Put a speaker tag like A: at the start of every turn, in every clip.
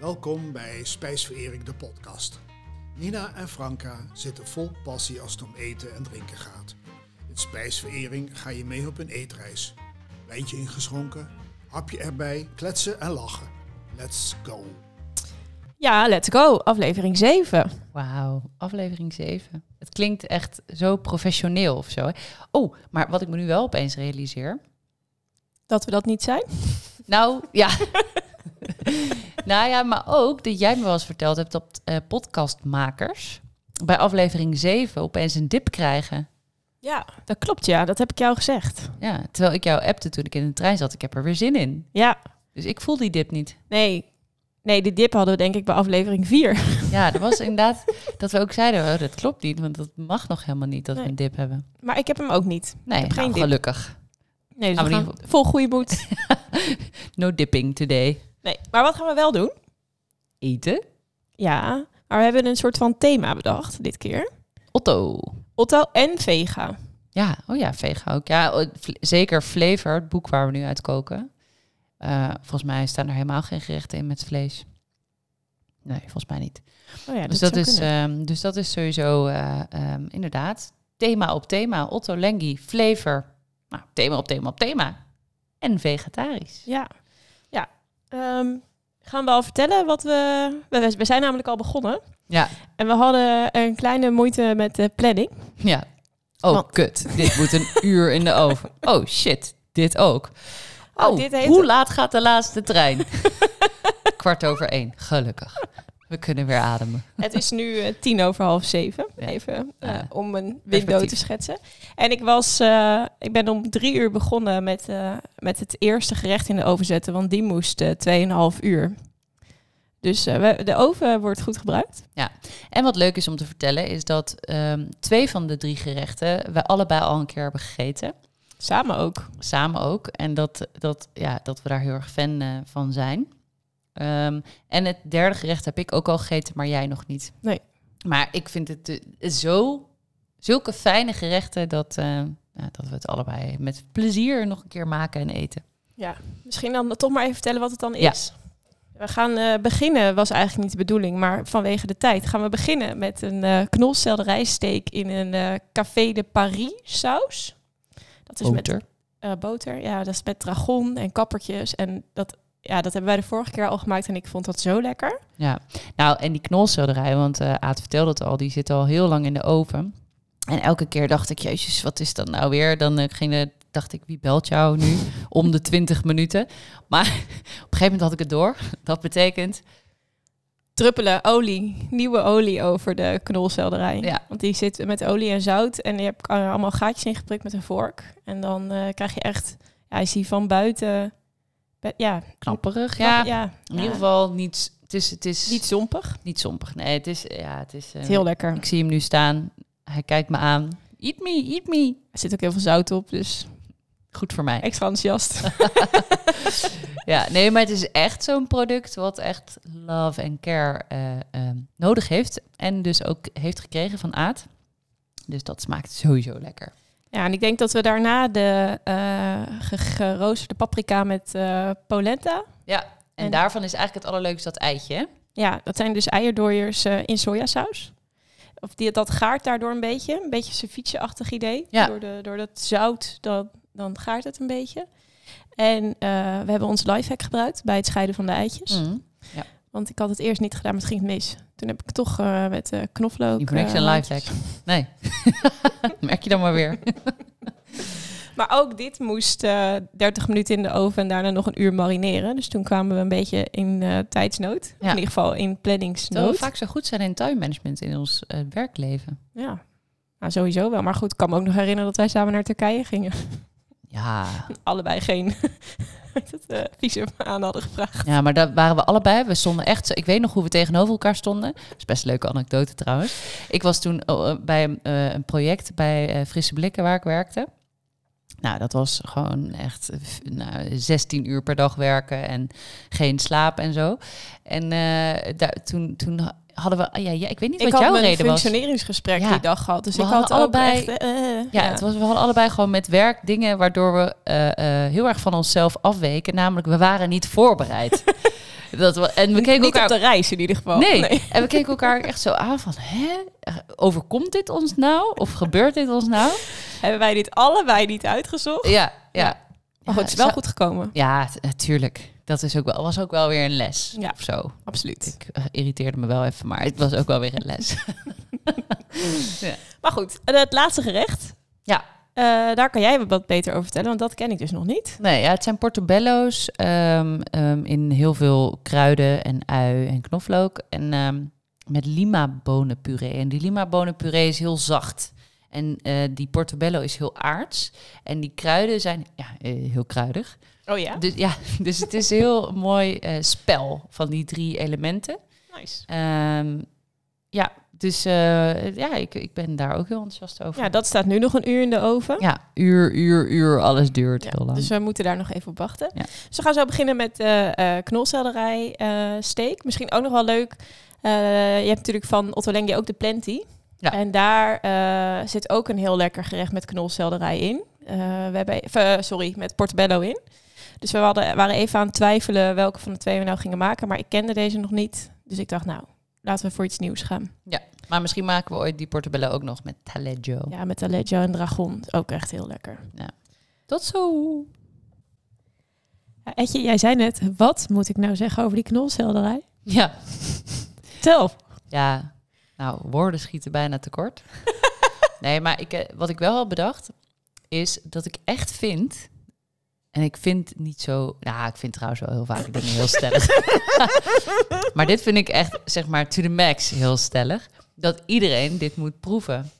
A: welkom bij Spijsverering de podcast. Nina en Franka zitten vol passie als het om eten en drinken gaat. In Spijsverering ga je mee op een eetreis. Wijntje ingeschonken, hapje erbij, kletsen en lachen. Let's go!
B: Ja, let's go. Aflevering 7.
C: Wauw, aflevering 7. Het klinkt echt zo professioneel of zo. hè? Oh, maar wat ik me nu wel opeens realiseer.
B: Dat we dat niet zijn.
C: Nou, ja. nou ja, maar ook dat jij me wel eens verteld hebt dat eh, podcastmakers bij aflevering 7 opeens een dip krijgen.
B: Ja, dat klopt. Ja, dat heb ik jou gezegd.
C: Ja, terwijl ik jou appte toen ik in de trein zat. Ik heb er weer zin in.
B: Ja,
C: Dus ik voel die dip niet.
B: nee. Nee, die dip hadden we denk ik bij aflevering 4.
C: Ja, dat was inderdaad dat we ook zeiden, oh, dat klopt niet, want dat mag nog helemaal niet dat we
B: Nee.
C: een dip hebben.
B: Maar ik heb hem ook niet.
C: Nee,
B: heb geen
C: nou,
B: dip.
C: gelukkig.
B: Nee, dus
C: Gaan
B: we
C: we
B: gaan
C: niet
B: vol goede moed.
C: No dipping today.
B: Nee, maar wat gaan we wel doen?
C: Eten.
B: Ja, maar we hebben een soort van thema bedacht dit keer.
C: Otto.
B: Otto en Vega.
C: Ja, oh ja, vega ook. Ja, oh, vle- zeker Flavor, het boek waar we nu uit koken. Eh, volgens mij staan er helemaal geen gerechten in met vlees. Nee, volgens mij niet.
B: Oh ja,
C: dus, dat is, ehm, dus dat is sowieso eh, ehm, inderdaad thema op thema. Otto Lengi, Flavor. Nou, thema op thema op thema. En vegetarisch.
B: Ja. ja. Ehm, gaan we al vertellen wat we... we... We zijn namelijk al begonnen.
C: Ja,
B: En we hadden een kleine moeite met de planning.
C: ja. Oh,
B: Want-
C: kut. Dit moet een uur in de oven. Oh, shit. Dit ook. Oh,
B: dit heeft-
C: hoe laat gaat de laatste trein? Kwart over één. Gelukkig. We kunnen weer ademen.
B: Het is nu eh, tien over half zeven,
C: Ja.
B: even eh,
C: Ja.
B: om een window
C: Perspectief.
B: te schetsen. En ik, was, eh, ik ben om drie uur begonnen met, eh, met het eerste gerecht in de oven zetten, want die moest eh, tweeënhalf uur. Dus eh, we- de oven wordt goed gebruikt.
C: En wat leuk is om te vertellen is dat ehm, twee van de drie gerechten we allebei al een keer hebben gegeten.
B: Samen ook.
C: Samen ook. En dat, dat, ja, dat we daar heel erg fan eh, van zijn. Ehm, en het derde gerecht heb ik ook al gegeten, maar jij nog niet.
B: Nee.
C: Maar ik vind het eh, zo, zulke fijne gerechten dat, eh, ja, dat we het allebei met plezier nog een keer maken en eten.
B: Misschien dan toch maar even vertellen wat het dan
C: Ja.
B: is. We gaan eh, beginnen, was eigenlijk niet de bedoeling, maar vanwege de tijd gaan we beginnen met een eh knolselderijsteek in een eh, Café de Paris saus. Dat is met
C: Boter.
B: eh, boter. Ja, dat is met dragon en kappertjes. En dat, ja, dat hebben wij de vorige keer al gemaakt en ik vond dat zo lekker.
C: Ja, nou en die knolselderij, want eh Aad vertelde het al, die zit al heel lang in de oven. En elke keer dacht ik, jezus, wat is dat nou weer? Dan eh, ging de, dacht ik, wie belt jou nu om de 20 minuten? Maar op een gegeven moment had ik het door. Dat betekent,
B: Druppelen olie, nieuwe olie over de knolselderij.
C: Ja.
B: Want die zit met olie en zout en je hebt er allemaal gaatjes in geprikt met een vork. En dan eh, krijg je echt, ja, je ziet van buiten, be- ja,
C: knapperig.
B: knap-
C: Ja,
B: ja,
C: in ieder geval niet, het is, het is
B: niet
C: niet,
B: zompig. Het
C: sompig. Nee, het is, ja, het is, eh,
B: is heel lekker.
C: ik zie hem nu staan. Hij kijkt me aan. Eat me, eat me.
B: Er zit ook heel veel zout op, dus
C: Goed voor mij.
B: extra enthousiast.
C: Ja, nee, maar het is echt zo'n product wat echt love en care eh, ehm, nodig heeft. En dus ook heeft gekregen van Aad. Dus dat smaakt sowieso lekker.
B: Ja, en ik denk dat we daarna de eh, ge- geroosterde paprika met eh, polenta
C: En,
B: En-
C: daarvan is eigenlijk het allerleukste dat eitje. hè?
B: Ja, dat zijn dus eierdooiers eh, in sojasaus. Of die, dat gaart daardoor een beetje. Een beetje ceviche-achtig idee.
C: Ja.
B: Door, de, door dat zout, dan, dan gaart het een beetje. En eh, we hebben ons lifehack gebruikt bij het scheiden van de eitjes.
C: Dus Mm.
B: Want ik had het eerst niet gedaan, maar het ging mis. Toen heb ik toch eh, met eh knoflook...
C: Niet voor niks
B: eh,
C: een
B: handjes.
C: lifehack. Nee. Merk je dan maar weer.
B: Maar ook dit moest eh 30 minuten in de oven en daarna nog een uur marineren. Dus toen kwamen we een beetje in eh, tijdsnood. Of
C: Ja.
B: in ieder geval in
C: Terwijl we
B: planningsnood.
C: vaak zo goed zijn in tuinmanagement in ons eh, werkleven.
B: Ja, nou, sowieso wel. Maar goed, ik kan me ook nog herinneren dat wij samen naar Turkije gingen.
C: Ja.
B: Allebei geen dat, eh, visum aan hadden gevraagd.
C: ja, maar daar waren we allebei. We stonden echt zo... Ik weet nog hoe we tegenover elkaar stonden. Dat is best een leuke anekdote trouwens. Ik was toen oh, eh, bij een, eh, een project bij eh, Frisse Blikken waar ik werkte. Nou, dat was gewoon echt eh, f- nou, 16 uur per dag werken en geen slaap en zo. En eh, daar, toen, toen ha- hadden we... ah, Ja, ja, ik weet niet
B: ik
C: wat
B: had
C: jouw
B: mijn
C: reden was.
B: functioneringsgesprek
C: Ja.
B: die dag gehad. Dus
C: We
B: ik
C: hadden
B: had allebei...
C: allebei-
B: Ook echt, eh, eh,
C: Ja, het was, we hadden allebei gewoon met werk dingen waardoor we eh, eh, heel erg van onszelf afweken. Namelijk, we waren niet voorbereid. Dat we, en we keken
B: Niet
C: elkaar
B: op de reis in ieder geval.
C: Oh. Nee. En we keken elkaar echt zo aan van, hè? Overkomt dit ons nou? Of gebeurt dit ons nou?
B: Hebben wij dit allebei niet uitgezocht?
C: Ja, ja. Oh,
B: Maar goed, het is wel goed gekomen.
C: Ja, t- natuurlijk. Dat is ook wel, was ook wel weer een les
B: Ja.
C: of zo.
B: Absoluut.
C: Ik eh, irriteerde me wel even, maar het was ook wel weer een les.
B: Maar goed, en het laatste gerecht.
C: Ja.
B: Eh, daar kan jij wat beter over vertellen, want dat ken ik dus nog niet.
C: Nee, ja, het zijn portobello's ehm, ehm, in heel veel kruiden en ui en knoflook. En ehm, met lima bonenpuree. En die lima bonenpuree is heel zacht. En eh, die portobello is heel aards. En die kruiden zijn ja, eh, heel kruidig.
B: Oh ja?
C: Dus, ja, dus het is een heel mooi eh, spel van die drie elementen.
B: Nice.
C: Ehm, ja, dus eh, ja, ik, ik ben daar ook heel enthousiast over.
B: Ja, dat staat nu nog een uur in de oven.
C: Ja, uur, uur, uur, alles duurt
B: Ja,
C: heel lang.
B: dus we moeten daar nog even op wachten.
C: Ja.
B: Dus we gaan zo beginnen met eh eh knolselderij eh, steak. Misschien ook nog wel leuk. eh, je hebt natuurlijk van Otto Lenghi ook de Plenty.
C: Ja.
B: En daar eh, zit ook een heel lekker gerecht met knolselderij in. Eh, we hebben, of, eh, sorry, met portobello in. Dus we hadden, waren even aan het twijfelen welke van de twee we nou gingen maken. Maar ik kende deze nog niet. Dus ik dacht, nou, laten we voor iets nieuws gaan.
C: Maar misschien maken we ooit die portobello ook nog met taleggio.
B: Ja, met Aleggio en Dragon. Ook echt heel lekker.
C: Tot zo.
B: Ja, Etje, jij zei net, wat moet ik nou zeggen over die knolselderij?
C: Ja.
B: Tel.
C: ja, nou, woorden schieten bijna tekort. nee, maar ik, eh, wat ik wel had bedacht, is dat ik echt vind... En ik vind niet zo... Nou, ik vind trouwens wel heel vaak dingen heel stellig. maar dit vind ik echt, zeg maar, to the max heel stellig. Dat iedereen dit moet proeven.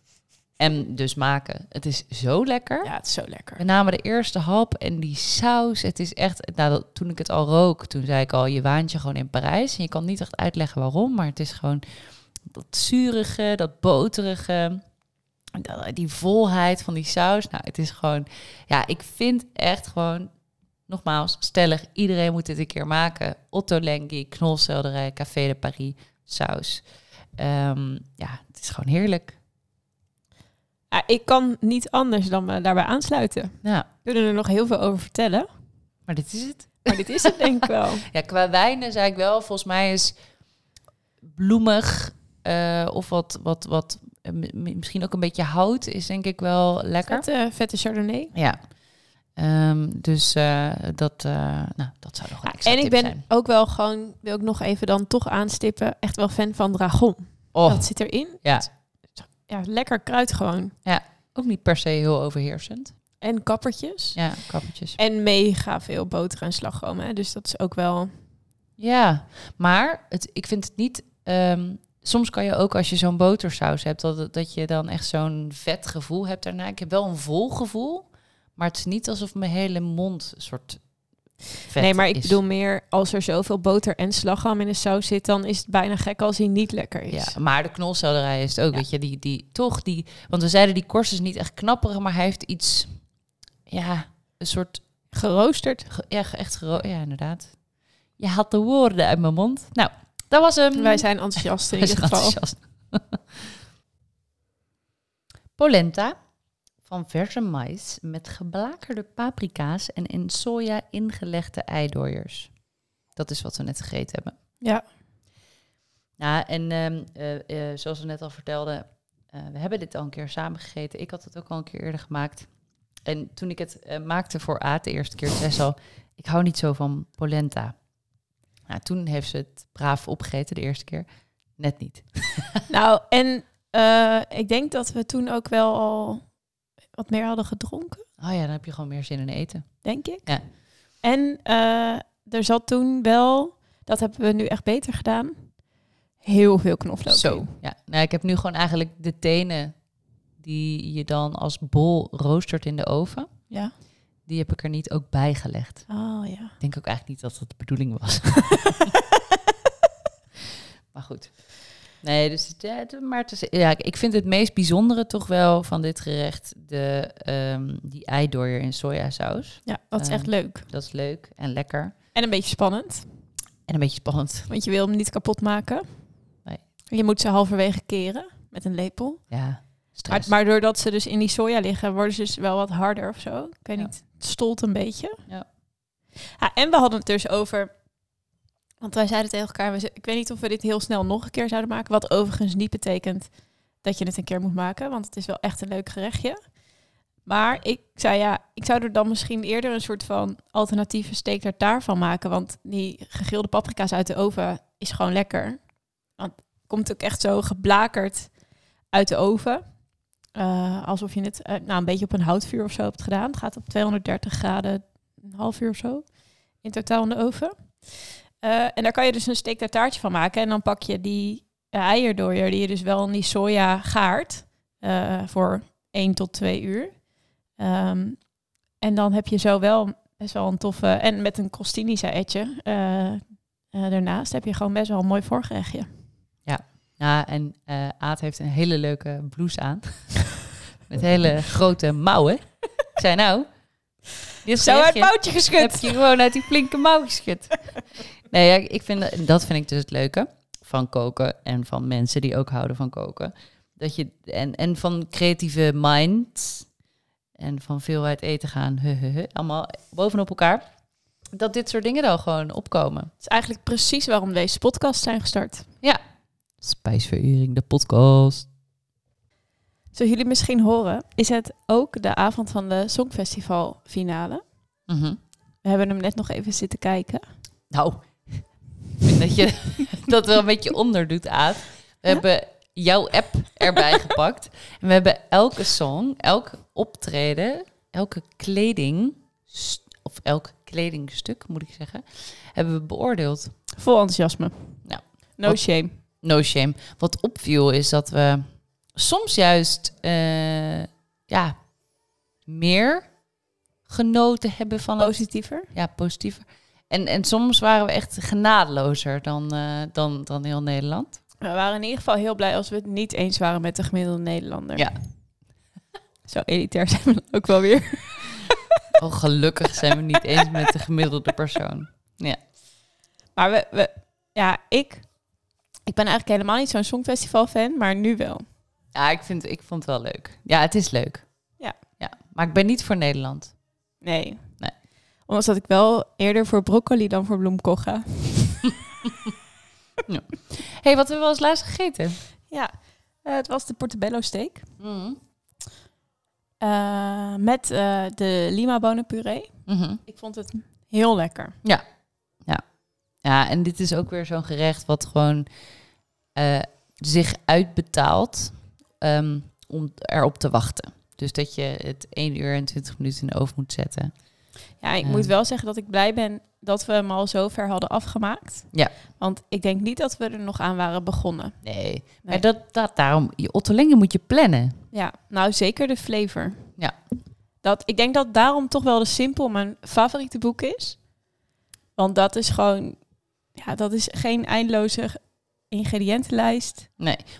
C: En dus maken. Het is zo lekker.
B: Ja, het is zo lekker.
C: We namen de eerste hap en die saus. Het is echt, nou, dat- toen ik het al rook, toen zei ik al, je waant je gewoon in Parijs. En je kan niet echt uitleggen waarom, maar het is gewoon dat zurige, dat boterige, dat- die volheid van die saus. Nou, het is gewoon, ja, ik vind echt gewoon, nogmaals, stellig, iedereen moet dit een keer maken. Otto Lengi, knolselderij, Café de Paris, saus. Ehm, ja, het is gewoon heerlijk.
B: Ja, ik kan niet anders dan me daarbij aansluiten.
C: Nou,
B: We kunnen er nog heel veel over vertellen.
C: maar dit is het.
B: Maar dit is het denk ik wel.
C: Ja, qua wijnen zei ik wel, volgens mij is bloemig eh, of wat, wat, wat eh, mi- mi- misschien ook een beetje hout is denk ik wel lekker.
B: Vette, eh, vette Chardonnay.
C: Ja. Ehm, dus eh, dat, eh, nou, dat zou nog een extra
B: en ik
C: tip
B: ben
C: zijn.
B: ook wel gewoon, wil ik nog even dan toch aanstippen, echt wel fan van Dragon.
C: Oh,
B: Dat zit erin.
C: ja.
B: Ja, lekker kruid gewoon.
C: Ook niet per se heel overheersend.
B: En kappertjes.
C: Ja, kappertjes.
B: En mega veel boter en slagroom. Hè? Dus dat is ook wel...
C: Ja, maar het, ik vind het niet... ehm, soms kan je ook als je zo'n botersaus hebt... Dat, het- dat je dan echt zo'n vet gevoel hebt daarna. Ik heb wel een vol gevoel, maar het is niet alsof mijn hele mond een soort vet
B: nee, maar ik
C: is.
B: bedoel meer, als er zoveel boter en slagroom in een saus zit, dan is het bijna gek als hij niet lekker is.
C: Ja, maar de knolselderij is het ook,
B: Ja.
C: weet je, die, die toch die... Want we zeiden die korst is niet echt knapperig, maar hij heeft iets... Ja, een soort...
B: Geroosterd.
C: ge- Ja, ge- echt gero... Ja, inderdaad. Je had de woorden uit mijn mond. Nou, dat was hem.
B: Wij zijn enthousiast in
C: Hij is
B: ieder geval.
C: enthousiast. Polenta van verse mais met geblakerde paprika's en in soja ingelegde eidooiers. Dat is wat we net gegeten hebben.
B: Ja.
C: Nou, en ehm, eh, eh, zoals we net al vertelden, eh, we hebben dit al een keer samen gegeten. Ik had het ook al een keer eerder gemaakt. En toen ik het eh, maakte voor Aad de eerste keer, zei ze al, ik hou niet zo van polenta. Nou, toen heeft ze het braaf opgegeten de eerste keer. Net niet.
B: Nou, en eh, ik denk dat we toen ook wel al wat meer hadden gedronken,
C: Oh ja, dan heb je gewoon meer zin in eten.
B: denk ik.
C: Ja.
B: En eh, er zat toen wel, dat hebben we nu echt beter gedaan, heel veel knoflook. in.
C: Ja, nou, ik heb nu gewoon eigenlijk de tenen die je dan als bol roostert in de oven.
B: Ja.
C: Die heb ik er niet ook bij gelegd.
B: Oh ja.
C: Ik denk ook eigenlijk niet dat dat de bedoeling was. maar goed. Nee, dus het- ja, het- maar het is, ja, ik vind het meest bijzondere toch wel van dit gerecht de, ehm, die eidooier in sojasaus.
B: ja, dat is
C: Ehm.
B: echt leuk.
C: Dat is leuk en lekker.
B: En een beetje spannend,
C: En een beetje spannend.
B: want je wil hem niet kapot maken.
C: Nee.
B: Je moet ze halverwege keren met een lepel.
C: Ja,
B: Maar,
C: stress.
B: maar doordat ze dus in die soja liggen, worden ze dus wel wat harder of zo. Ik weet
C: Ja.
B: niet, het stolt een beetje.
C: Ja.
B: Ah, en we hadden het dus over Want wij zeiden tegen elkaar, we ze- ik weet niet of we dit heel snel nog een keer zouden maken. Wat overigens niet betekent dat je het een keer moet maken, want het is wel echt een leuk gerechtje. Maar ik zei ja, ik zou er dan misschien eerder een soort van alternatieve steek naar taart van maken. Want die gegrilde paprika's uit de oven is gewoon lekker. Want het komt ook echt zo geblakerd uit de oven. Eh, alsof je het eh, nou, een beetje op een houtvuur of zo hebt gedaan. Het gaat op 230 graden, een half uur of zo. In totaal in de oven. Eh, en daar kan je dus een steek taartje van maken. En dan pak je die eierdooier die je dus wel in die soja gaart. eh, voor 1 tot 2 uur. Ehm, en dan heb je zo wel best wel een toffe... En met een costini saetje eh, eh, daarnaast heb je gewoon best wel een mooi voorgerechtje.
C: Ja, en eh Aad heeft een hele leuke blouse aan. Met hele grote mouwen. Ik zei nou, dit
B: Zo uit
C: gerechtje
B: het boutje
C: heb
B: geschud.
C: je gewoon uit die flinke mouw geschud. Nee, ja, ik vind, dat vind ik dus het leuke van koken en van mensen die ook houden van koken. Dat je, en, en van creatieve mind en van veel uit eten gaan, he, he, he, allemaal bovenop elkaar. Dat dit soort dingen dan gewoon opkomen.
B: Dat is eigenlijk precies waarom deze podcasts zijn gestart.
C: Spijsverering, de podcast.
B: Zoals jullie misschien horen, is het ook de avond van de Songfestival finale.
C: Mhm.
B: We hebben hem net nog even zitten kijken.
C: Nou, ik vind dat je dat wel een beetje onder doet, Aad. We
B: Ja?
C: hebben jouw app erbij gepakt. En we hebben elke song, elk optreden, elke kleding... st- of elk kledingstuk, moet ik zeggen... hebben we beoordeeld.
B: Vol enthousiasme.
C: Nou,
B: no
C: wat-
B: shame.
C: No shame. Wat opviel is dat we soms juist... eh, ja, meer genoten hebben van
B: Oh,
C: het
B: Positiever.
C: ja, positiever. En, en soms waren we echt genadelozer dan, eh, dan, dan heel Nederland.
B: We waren in ieder geval heel blij als we het niet eens waren met de gemiddelde Nederlander.
C: Ja.
B: Zo elitair zijn we dan ook wel weer.
C: Oh, gelukkig zijn we niet eens met de gemiddelde persoon.
B: Maar we, we ja, ik, ik ben eigenlijk helemaal niet zo'n Songfestival fan, maar nu wel.
C: Ja, ik, vind, ik vond het wel leuk. Ja, het is leuk.
B: Ja.
C: ja. Maar ik ben niet voor Nederland.
B: Nee.
C: Nee.
B: Ondanks dat ik wel eerder voor broccoli dan voor bloemkool ga.
C: Hé, hey, wat hebben we als laatst gegeten?
B: Ja, eh, het was de portobello steak. Eh, met eh, de lima bonenpuree.
C: Mhm.
B: Ik vond het heel lekker.
C: Ja, en dit is ook weer zo'n gerecht wat gewoon eh, zich uitbetaalt ehm, om erop te wachten. Dus dat je het 1 uur en 20 minuten in de oven moet zetten.
B: Ja, ik
C: Ja.
B: moet wel zeggen dat ik blij ben dat we hem al zo ver hadden afgemaakt.
C: Ja.
B: Want ik denk niet dat we er nog aan waren begonnen.
C: Nee. Maar dat, dat, daarom, je Ottolingen moet je plannen.
B: Ja, nou zeker de flavor.
C: Ja.
B: Dat, ik denk dat daarom toch wel de Simpel mijn favoriete boek is. Want dat is gewoon... Ja, dat is geen eindloze ingrediëntenlijst.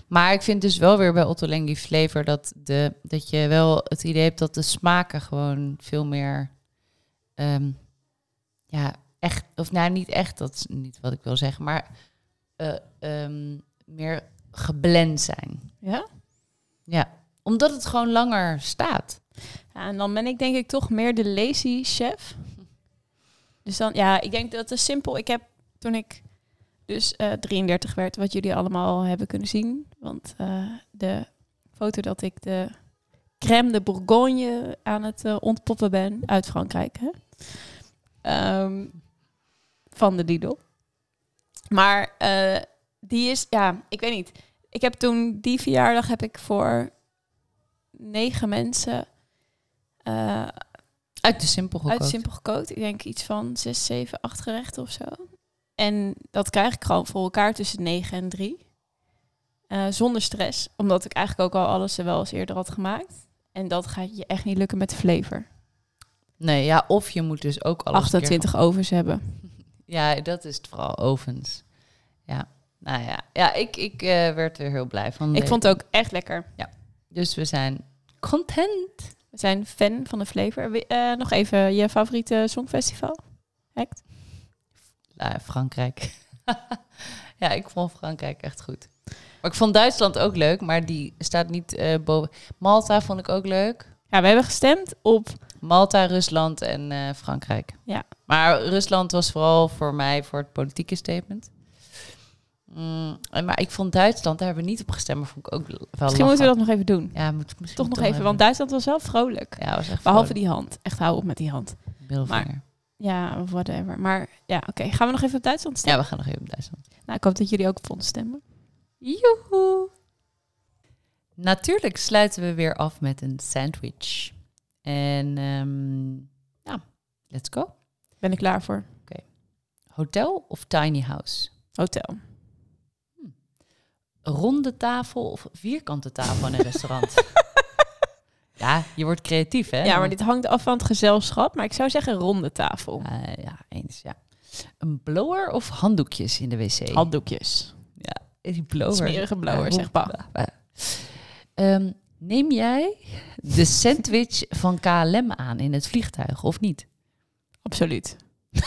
C: Maar ik vind dus wel weer bij Ottolenghi die flavor dat, de, dat je wel het idee hebt dat de smaken gewoon veel meer. ehm, ja, echt. Of nou, niet echt, dat is niet wat ik wil zeggen. Maar eh, ehm, meer geblend zijn.
B: Ja?
C: Omdat het gewoon langer staat.
B: Ja, en dan ben ik denk ik toch meer de lazy chef. Dus dan, ja, ik denk dat is simpel. Ik heb toen ik dus eh, 33 werd, wat jullie allemaal al hebben kunnen zien. Want eh, de foto dat ik de crème de Bourgogne aan het eh, ontpoppen ben uit Frankrijk. Hè? Ehm, van de Lidl. Maar eh, die is, ja, ik weet niet. Ik heb toen die verjaardag heb ik voor negen mensen eh,
C: Uit de simpel gekookt.
B: uit simpel gekookt. Ik denk iets van 6, 7, 8 gerechten of zo. En dat krijg ik gewoon voor elkaar tussen 9 en 3. Eh, zonder stress, omdat ik eigenlijk ook al alles er wel eens eerder had gemaakt. En dat gaat je echt niet lukken met de flavor.
C: Nee, ja, of je moet dus ook alles een keer
B: 28 ovens hebben.
C: Ja, dat is het vooral ovens. Ja, nou ja. Ja, ik, ik eh, werd er heel blij van.
B: Ik vond het ook echt lekker.
C: Dus we zijn content.
B: We zijn fan van de flavor. Wi- eh, nog even je favoriete songfestival? Act?
C: Ja, Frankrijk. ja, ik vond Frankrijk echt goed. Maar ik vond Duitsland ook leuk, maar die staat niet eh, boven. Malta vond ik ook leuk.
B: Ja, we hebben gestemd op
C: Malta, Rusland en eh, Frankrijk.
B: Ja.
C: Maar Rusland was vooral voor mij voor het politieke statement. Mm, en maar ik vond Duitsland, daar hebben we niet op gestemd, maar vond ik ook wel
B: Misschien moeten we dat nog even doen.
C: Ja, moet, misschien
B: Toch nog even, want Duitsland was wel vrolijk.
C: Ja, was echt
B: Behalve die hand. Echt hou op met die hand.
C: Maar...
B: Ja, whatever. Maar ja, oké. Gaan we nog even op Duitsland stemmen?
C: Ja, we gaan nog even op Duitsland.
B: Nou, ik hoop dat jullie ook op ons stemmen.
C: Joehoe! Natuurlijk sluiten we weer af met een sandwich. En ehm, ja, let's go.
B: Ben ik klaar voor.
C: Hotel of tiny house?
B: Hotel.
C: ronde tafel of vierkante tafel in een restaurant? ja, je wordt creatief, hè?
B: Ja, maar dit hangt af van het gezelschap. Maar ik zou zeggen ronde tafel.
C: Eh, ja, eens, ja. Een blower of handdoekjes in de wc? Eh,
B: Handdoekjes.
C: Die blower.
B: Smerige blower,
C: Ja,
B: zeg pa.
C: Ehm, neem jij de sandwich van KLM aan in het vliegtuig, of niet?
B: Absoluut.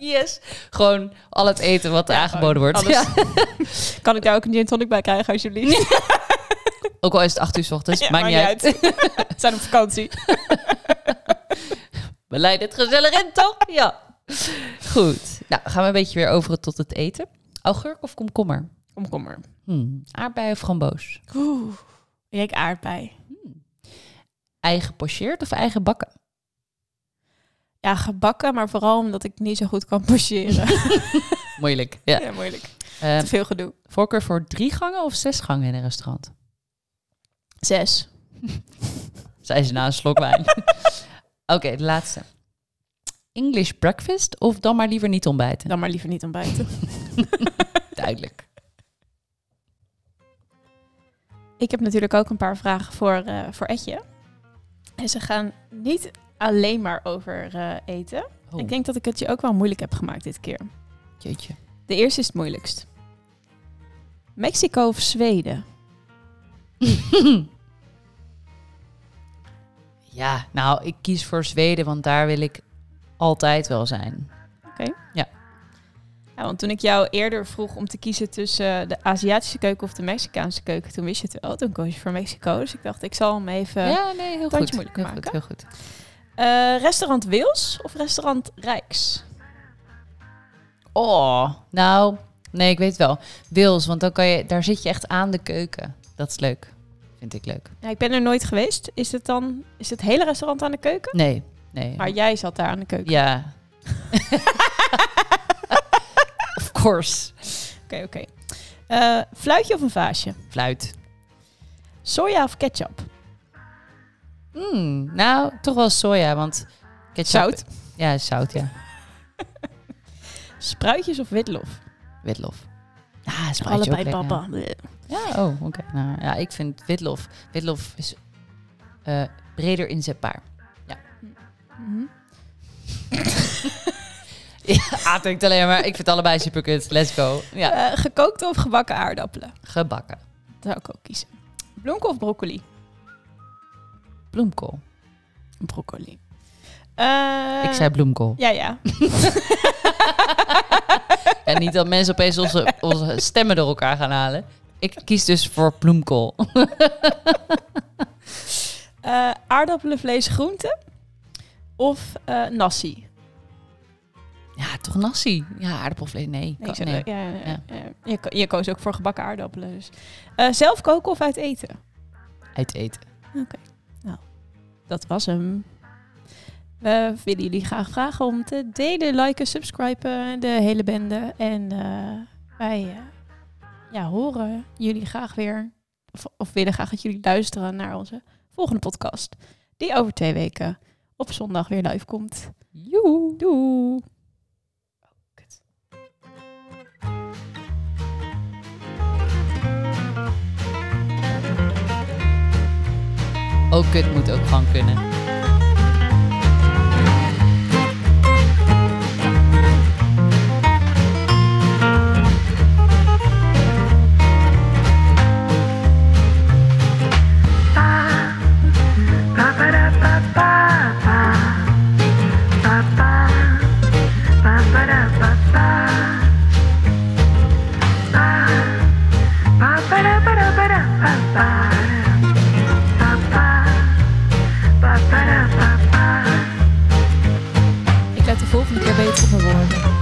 C: Yes. Gewoon al het eten wat er aangeboden wordt.
B: alles.
C: Ja.
B: Kan ik daar ook een gin tonic bij krijgen, alsjeblieft?
C: Ook al is het acht uur 's ochtends, maakt niet uit.
B: We zijn op vakantie.
C: We leiden het gezellig in, toch? Ja. Goed. Nou, gaan we een beetje weer over tot het eten. Augurk of komkommer?
B: Kom, kom maar.
C: Hmm. Aardbei of framboos?
B: Oeh. Ik aardbei.
C: Eigen pocheerd of eigen bakken?
B: Ja, gebakken, maar vooral omdat ik niet zo goed kan pocheren.
C: Moeilijk. Ja.
B: ja, moeilijk.
C: Eh,
B: Te veel gedoe.
C: voorkeur voor drie gangen of zes gangen in een restaurant?
B: Zes.
C: Zei ze na een slok wijn. Oké, de laatste. English breakfast of dan maar liever niet ontbijten?
B: Dan maar liever niet ontbijten.
C: Duidelijk.
B: Ik heb natuurlijk ook een paar vragen voor, eh, voor Etje. En ze gaan niet alleen maar over eh, eten.
C: Oh,
B: Ik denk dat ik het je ook wel moeilijk heb gemaakt dit keer.
C: jeetje.
B: De eerste is het moeilijkst. Mexico of Zweden?
C: Ja, nou, ik kies voor Zweden, want daar wil ik altijd wel zijn.
B: Ja, want toen ik jou eerder vroeg om te kiezen tussen eh, de Aziatische keuken of de Mexicaanse keuken, toen wist je het wel. Toen koos je voor Mexico. Dus ik dacht, ik zal hem even.
C: ja, nee, heel
B: tandje
C: goed.
B: moeilijk
C: heel
B: maken.
C: goed, heel goed.
B: Eh, restaurant Wils of restaurant Rijks?
C: Oh, nou, nee, ik weet wel. Wils, want dan kan je, daar zit je echt aan de keuken. Dat is leuk. Vind ik leuk.
B: Ja, ik ben er nooit geweest. Is het dan is het hele restaurant aan de keuken?
C: Nee, nee.
B: Maar jij zat daar aan de keuken.
C: ja. of course.
B: Oké, oké. Eh, fluitje of een vaasje?
C: Fluit.
B: Soja of ketchup?
C: Mm, nou, toch wel soja, want ketchup.
B: Zout.
C: Ja, zout, ja.
B: Spruitjes of witlof?
C: Witlof. Ah, is
B: Allebei papa.
C: Ja, oh, oké. Nou, ja, ik vind witlof. Witlof is eh, breder inzetbaar.
B: Mhm.
C: Ja, Aad denkt alleen maar. Ik vind het allebei superkut. Let's go. Ja,
B: Eh, gekookt of gebakken aardappelen?
C: gebakken.
B: Dat zou ik ook kiezen. Bloemkool of broccoli?
C: Bloemkool.
B: Broccoli. Eh,
C: ik zei bloemkool.
B: Ja, ja.
C: En niet dat mensen opeens onze, onze stemmen door elkaar gaan halen. Ik kies dus voor bloemkool.
B: Eh, aardappelen, vlees, groente? Of eh nasi?
C: Ja, toch nasi. Ja, aardappelvlees. Nee,
B: Nee, ik
C: kan-
B: zou-
C: nee.
B: ja, ja,
C: Ja.
B: ja. je, ko- je koos ook voor gebakken aardappelen. Dus. Eh, zelf koken of uit eten?
C: uit eten.
B: Dat was hem. We willen jullie graag vragen om te delen, liken, subscriben, de hele bende. En eh, wij eh, ja, horen jullie graag weer, of, of willen graag dat jullie luisteren naar onze volgende podcast. Die over twee weken op zondag weer live komt.
C: Joe.
B: Doei! Oh,
C: Ook kut moet ook gewoon kunnen.
D: Ba-ba-da-ba-da-ba-da-ba-ba.
B: let de volgende keer beter op mijn woorden.